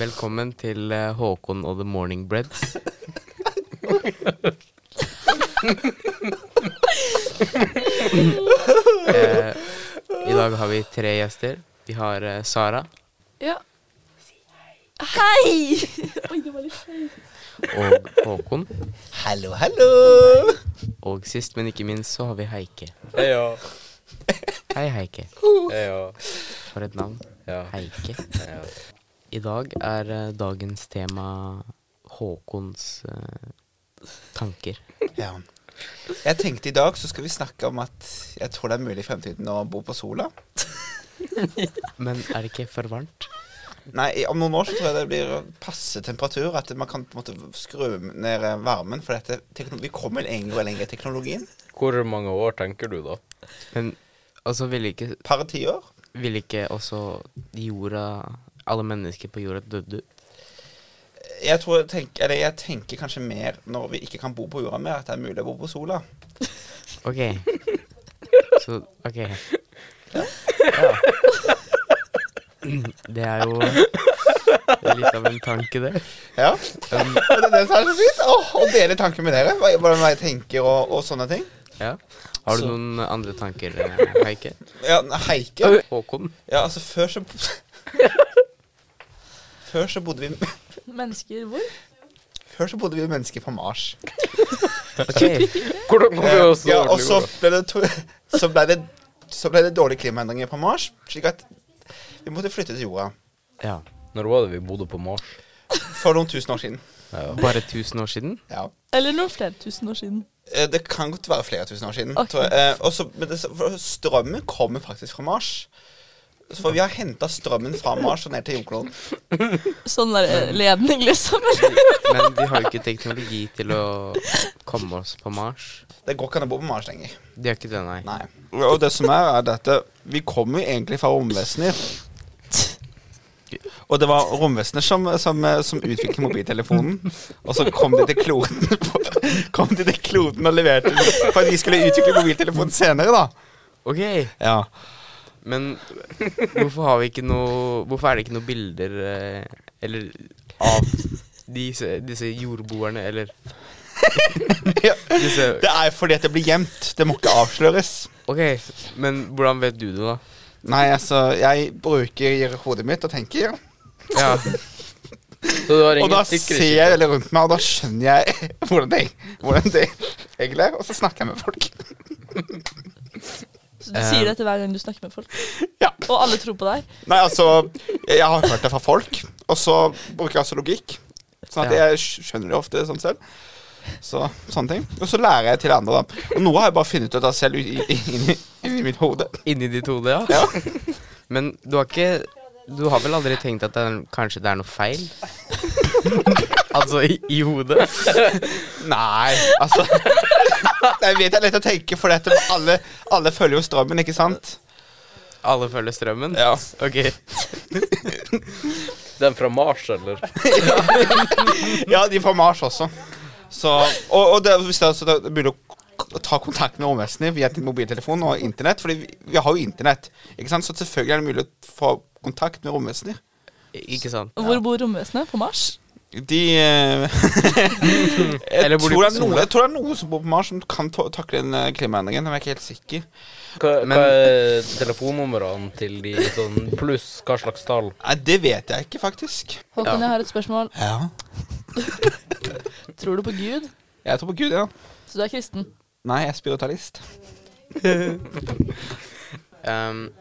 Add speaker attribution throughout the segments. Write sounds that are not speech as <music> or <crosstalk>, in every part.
Speaker 1: Velkommen til eh, Håkon og The Morning Breads. eh, I dag har vi tre gjester. Vi har eh, Sara
Speaker 2: Ja. Hei! <laughs> Oi, det var litt skjevt.
Speaker 1: og Håkon.
Speaker 3: Hallo, hallo!
Speaker 1: Og sist, men ikke minst, så har vi Heike.
Speaker 4: Ja.
Speaker 1: Hei, Heike.
Speaker 4: Ja.
Speaker 1: For et navn.
Speaker 4: Ja.
Speaker 1: Heike.
Speaker 4: Ja.
Speaker 1: I dag er eh, dagens tema Håkons eh, tanker.
Speaker 3: Ja. Jeg tenkte i dag så skal vi snakke om at jeg tror det er mulig i fremtiden å bo på sola.
Speaker 1: Men er det ikke for varmt?
Speaker 3: Nei, om noen år så tror jeg det blir passe temperatur. At man kan på en måte skru ned eh, varmen. For dette, tekno- vi kommer lenger og lenger i teknologien.
Speaker 4: Hvor mange år tenker du, da?
Speaker 1: Men altså, ville ikke,
Speaker 3: Par tiår.
Speaker 1: vil ikke også jorda Alle mennesker på jorda døde ut?
Speaker 3: Jeg, tror, jeg tenker, eller jeg tenker kanskje mer når vi ikke kan bo på jorda mer, at det er mulig å bo på sola.
Speaker 1: OK. Så OK.
Speaker 3: Ja.
Speaker 1: Det er jo litt av en tanke, det.
Speaker 3: ja. Og det <laughs> er det som er så fint. Åh, Å dele tanker med dere. hva- Hvordan jeg tenker og, og sånne ting.
Speaker 1: Ja. Har du
Speaker 3: Så-
Speaker 1: noen andre tanker, eh, Heike?
Speaker 3: Ja, Heike.
Speaker 1: Håkon?
Speaker 3: Ja, altså, før så Før så bodde vi
Speaker 2: Mennesker hvor?
Speaker 3: Før så bodde vi mennesker på Mars.
Speaker 1: OK.
Speaker 4: Hvordan kom vi oss
Speaker 3: ja, altså- og så ble, det to, så, ble det, så ble det dårlige klimaendringer på Mars, slik at vi måtte flytte til jorda
Speaker 1: Ja.
Speaker 4: Når var det vi bodde på Mars?
Speaker 3: for noen tusen år siden.
Speaker 4: Ja.
Speaker 1: Bare 1000 år siden?
Speaker 3: Ja.
Speaker 2: Eller noen flere tusen år siden.
Speaker 3: Eh, Det kan godt være flere tusen år siden.
Speaker 2: Ok.
Speaker 3: Tror jeg. Eh, og så- men det, for strømmen kommer faktisk fra Mars. Så for vi har henta strømmen fra Mars og ned til jordkloden.
Speaker 2: Sånn der eh, ledning, liksom. eller?
Speaker 1: Men vi har jo ikke teknologi til å komme oss på Mars.
Speaker 3: Det går ikke an å bo på Mars lenger.
Speaker 1: De har ikke det, nei.
Speaker 3: Nei. Og det som er, er dette Vi kommer jo egentlig fra romvesener. Og det var romvesener som, som, som utviklet mobiltelefonen. Og så kom de til kloden Kom de til kloden og leverte den for at vi skulle utvikle mobiltelefonen senere, da.
Speaker 1: OK,
Speaker 3: Ja.
Speaker 1: men hvorfor har vi ikke noe Hvorfor er det ikke noen bilder eh, eller av disse, disse jordboerne, eller disse
Speaker 3: Det er fordi at det blir gjemt. Det må ikke avsløres.
Speaker 1: OK, men hvordan vet du det, da?
Speaker 3: Nei, altså, jeg bruker hodet mitt og tenker.
Speaker 1: Ja,
Speaker 4: Så det var
Speaker 3: Og
Speaker 4: ingen
Speaker 3: da ser
Speaker 4: sikkerhetskilde?
Speaker 3: jeg veldig rundt meg, og da skjønner jeg <laughs> hvordan det, hvordan det egentlig er. Og så snakker jeg med folk.
Speaker 2: Så du
Speaker 1: Eh.
Speaker 2: sier dette hver gang du snakker med folk.
Speaker 3: Ja.
Speaker 2: Og alle tror på deg.
Speaker 3: Nei, altså, jeg jeg har hørt det fra folk, og så bruker jeg altså logikk. Sånn at
Speaker 1: Ja.
Speaker 3: jeg skj- skjønner det ofte sånn selv. Så, sånne ting. Og så lærer jeg til andre, da. Og noe har jeg bare funnet ut av selv i- i- inni inni mitt hode.
Speaker 1: inni ditt hode, ja.
Speaker 3: Ja.
Speaker 1: Men du har ikke Du har vel aldri tenkt at det er, kanskje det er noe feil?
Speaker 3: <laughs>
Speaker 1: altså i, i hodet?
Speaker 3: Nei, altså Jeg vet det er lett å tenke, for dette, alle, alle følger jo strømmen, ikke sant?
Speaker 1: Alle følger strømmen?
Speaker 3: Ja.
Speaker 1: OK.
Speaker 4: Den fra Mars, eller?
Speaker 3: Ja, de fra Mars også. Så, og, og det, hvis det, er- så det er mulig å k- ta kontakt med romvesenet via din mobiltelefon og internett, Fordi vi, vi har jo internett, ikke sant? så selvfølgelig er det mulig å få kontakt med romvesener.
Speaker 1: Ikke sant?
Speaker 2: Hvor bor romvesenet? På Mars?
Speaker 3: De eh, <laughs>
Speaker 1: Eller
Speaker 3: jeg,
Speaker 1: bor de på
Speaker 3: tror det er noe,
Speaker 1: sola?
Speaker 3: jeg tror det er noe som bor på Mars som kan ta- takle den eh, klimaendringen. Men jeg er ikke helt sikker.
Speaker 4: Hva,
Speaker 1: Men-
Speaker 4: hva er telefonnumrene til de sånn pluss hva slags tall?
Speaker 3: Nei, Det vet jeg ikke, faktisk.
Speaker 2: Håkon,
Speaker 1: Ja.
Speaker 2: jeg har et spørsmål.
Speaker 3: Ja.
Speaker 2: Tror du på Gud?
Speaker 3: Jeg tror på Gud, ja.
Speaker 2: Så du er kristen?
Speaker 3: Nei, jeg er spiritualist.
Speaker 1: Um,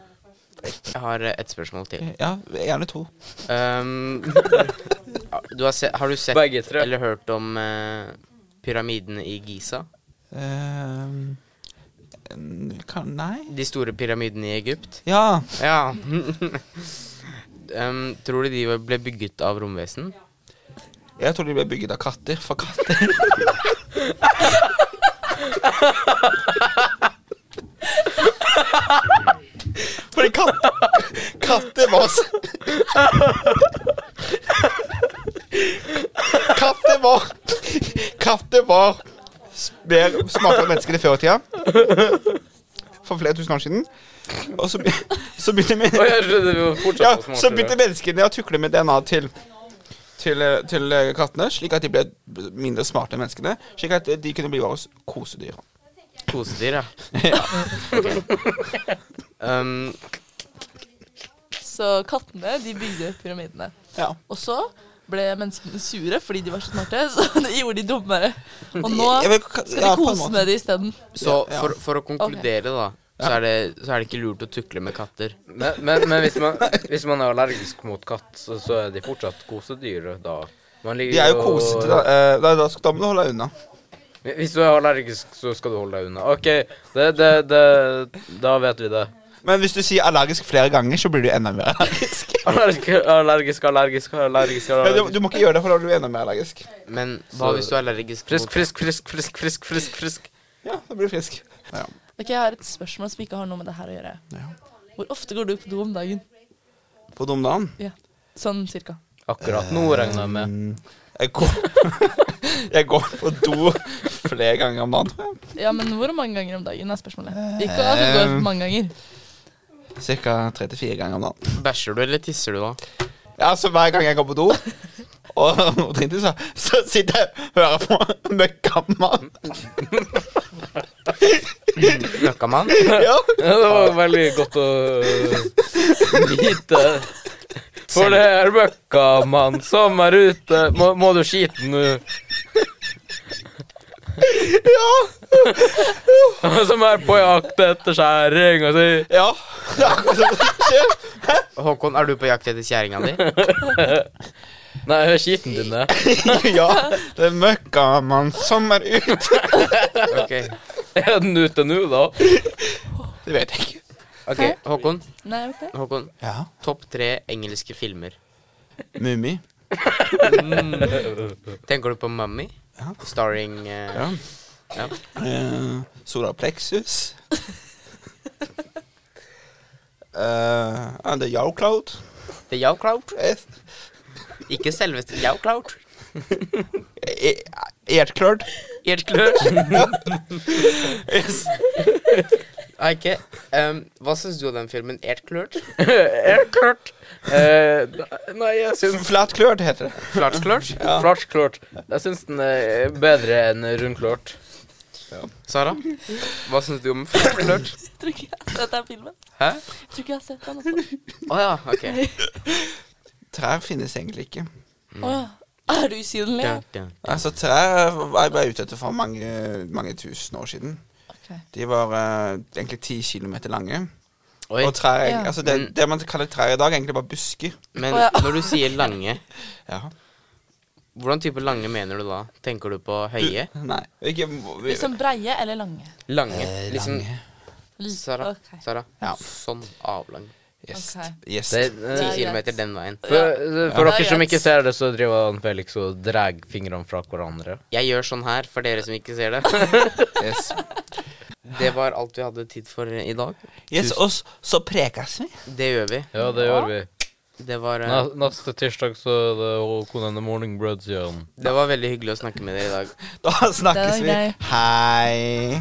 Speaker 1: jeg har eh, et spørsmål til.
Speaker 3: Ja, Gjerne to.
Speaker 1: Um, du har, se, har du sett
Speaker 4: Begge tre.
Speaker 1: eller hørt om eh, pyramidene i Giza?
Speaker 3: Ehm, kan, nei
Speaker 1: De store pyramidene i Egypt?
Speaker 3: Ja.
Speaker 1: Ja. <laughs> um, tror du de var- ble bygget av romvesen?
Speaker 3: Jeg tror de ble bygget av katter. For katter Fordi katter Katter var så Katter var Katter var mer smarte enn menneskene før i tida. for flere tusen år siden. Og så, be- så begynte men-
Speaker 4: Å, jeg skjønner, vi må fortsette
Speaker 3: ja,
Speaker 4: å smarte
Speaker 3: så begynte menneskene å tukle med DNA til, til, eh, til eh, kattene, slik at de ble mindre smarte enn menneskene. Slik at de kunne bli våre kosedyr.
Speaker 1: Kosedyr, <laughs> ja. um,
Speaker 2: Så kattene de bygde pyramidene.
Speaker 3: Ja.
Speaker 2: Og så ble menneskene sure fordi de var så smarte, <laughs> så det gjorde de dummere. Og nå
Speaker 3: Jeg vil ka-
Speaker 2: skal de
Speaker 3: ja, på en
Speaker 2: kose
Speaker 3: måte.
Speaker 2: med det isteden.
Speaker 1: så
Speaker 3: Ja, ja.
Speaker 1: for, for å konkludere, da, så er, det, så er det ikke lurt å tukle med katter.
Speaker 4: Men, men, men hvis, man, hvis man er allergisk mot katt, så, så er de fortsatt kosedyr da. Man ligger
Speaker 3: De er jo
Speaker 4: og-
Speaker 3: kosete. Da, eh, da, da, skal- da må du holde deg unna.
Speaker 4: Hvis du er allergisk, så skal du holde deg unna. OK, det, det, det, da vet vi det.
Speaker 3: Men hvis du sier allergisk flere ganger, så blir du enda mer allergisk.
Speaker 4: Allergisk, allergisk, allergisk, allergisk.
Speaker 3: Ja, <laughs> du,
Speaker 4: allergisk.
Speaker 3: du må ikke gjøre det, for da blir du enda mer allergisk.
Speaker 1: Men hva
Speaker 4: Så-
Speaker 1: hvis du er allergisk
Speaker 4: Frisk,
Speaker 1: mot
Speaker 4: frisk, frisk, frisk, frisk, frisk. frisk.
Speaker 3: Ja, da blir du frisk. Ja.
Speaker 2: Ok, Jeg har et spørsmål som ikke har noe med det her å gjøre.
Speaker 3: Ja.
Speaker 2: Hvor ofte går du på do om dagen?
Speaker 3: På domdagen
Speaker 2: Sånn cirka.
Speaker 4: Akkurat nå regner jeg med.
Speaker 3: Mm, jeg går, <laughs> jeg går på do flere ganger om dagen, tror jeg.
Speaker 2: Ja, men hvor mange ganger om dagen er spørsmålet? Ikke at du går mange ganger.
Speaker 3: Cirka tre til fire ganger om dagen.
Speaker 1: Bæsjer du, eller tisser du da?
Speaker 3: Ja, så hver gang jeg går på do og, og <laughs> driter, så, så sitter jeg og hører på <laughs> Møkkamann.
Speaker 1: <laughs> Møkkamann?
Speaker 3: Ja.
Speaker 4: Ja, <laughs> det var veldig godt å øh, vite. For det er møkkamann som er ute. Må, må du skite nå? Ja! <laughs> Som er på jakt etter skjæringa si.
Speaker 3: ja. <laughs> Det er akkurat sånn som skjer.
Speaker 1: Håkon, er du på jakt etter kjerringa <laughs> di?
Speaker 4: Nei, hør skiten din, det.
Speaker 3: Ja, det er Møkkamann som er ute.
Speaker 1: Ok,
Speaker 4: Er den ute nå, da?
Speaker 3: Det vet jeg ikke.
Speaker 1: ok, Håkon.
Speaker 2: Nei, ok.
Speaker 1: Håkon.
Speaker 3: Ja.
Speaker 1: Topp tre engelske filmer.
Speaker 3: Mummi.
Speaker 4: Mm. <laughs>
Speaker 1: Tenker du på Mummy?
Speaker 3: Ja.
Speaker 1: Starring eh,
Speaker 3: Ja.
Speaker 1: Ja.
Speaker 3: Eh, Solar plexus. Eh, and the Yao Cloud.
Speaker 1: The Yao Cloud?
Speaker 3: Yes.
Speaker 1: Ikke selveste Yao Cloud.
Speaker 3: E- Erklørt.
Speaker 1: Helt klart.
Speaker 3: Yes.
Speaker 1: Eike, um, hva syns du om den filmen? Helt klart?
Speaker 4: Er klart. Eh, nei, jeg syns
Speaker 3: Flatklørt heter det.
Speaker 1: Klart klart?
Speaker 4: Flatsklørt. Jeg syns den er bedre enn rundklørt.
Speaker 1: Sara, hva syns du om Helt klart?
Speaker 2: Jeg tror ikke jeg har sett den filmen.
Speaker 1: Hæ?
Speaker 2: Jeg tror ikke jeg har sett den. altså.
Speaker 1: Å ja, ok.
Speaker 3: Trær finnes egentlig ikke.
Speaker 2: Å ja. Er du usynlig?
Speaker 1: Dun, dun.
Speaker 3: Altså, trær var jeg bare ute etter for mange, mange tusen år siden.
Speaker 2: Ok.
Speaker 3: De var eh, egentlig ti kilometer lange.
Speaker 1: Oi,
Speaker 3: Og trær,
Speaker 2: Ja.
Speaker 3: altså det, det man kaller trær i dag, er egentlig bare busker.
Speaker 1: men
Speaker 2: Å, ja.
Speaker 1: når du sier lange,
Speaker 3: Ja.
Speaker 1: hvordan type lange mener du da? Tenker du på høye?
Speaker 3: Nei. Ikke, Eh,
Speaker 2: Liksom breie eller lange?
Speaker 1: Lange? Liksom
Speaker 2: L-
Speaker 1: Sara,
Speaker 2: Ok.
Speaker 1: Sara.
Speaker 3: Ja.
Speaker 1: Sånn avlang.
Speaker 3: Yes.
Speaker 2: Ok.
Speaker 3: yes.
Speaker 4: Det,
Speaker 1: Ti
Speaker 2: er
Speaker 1: kilometer
Speaker 2: greit.
Speaker 1: den veien.
Speaker 4: For, for
Speaker 2: Ja.
Speaker 4: dere som ikke ser det, så driver han Felix og drar fingrene fra hverandre.
Speaker 1: Jeg gjør sånn her, for dere som ikke ser det.
Speaker 3: yes.
Speaker 1: Det var alt vi hadde tid for i dag.
Speaker 3: Yes, og s- så prekes vi. <laughs>
Speaker 1: Det gjør vi.
Speaker 4: Ja, det gjør vi.
Speaker 1: Det var, eh,
Speaker 4: Na, neste tirsdag så er det Håkon and the Morning Breads igjen.
Speaker 1: det var veldig hyggelig å snakke med dere i dag.
Speaker 3: Da snakkes
Speaker 2: Det
Speaker 3: vi.
Speaker 2: var gøy.
Speaker 3: Hei.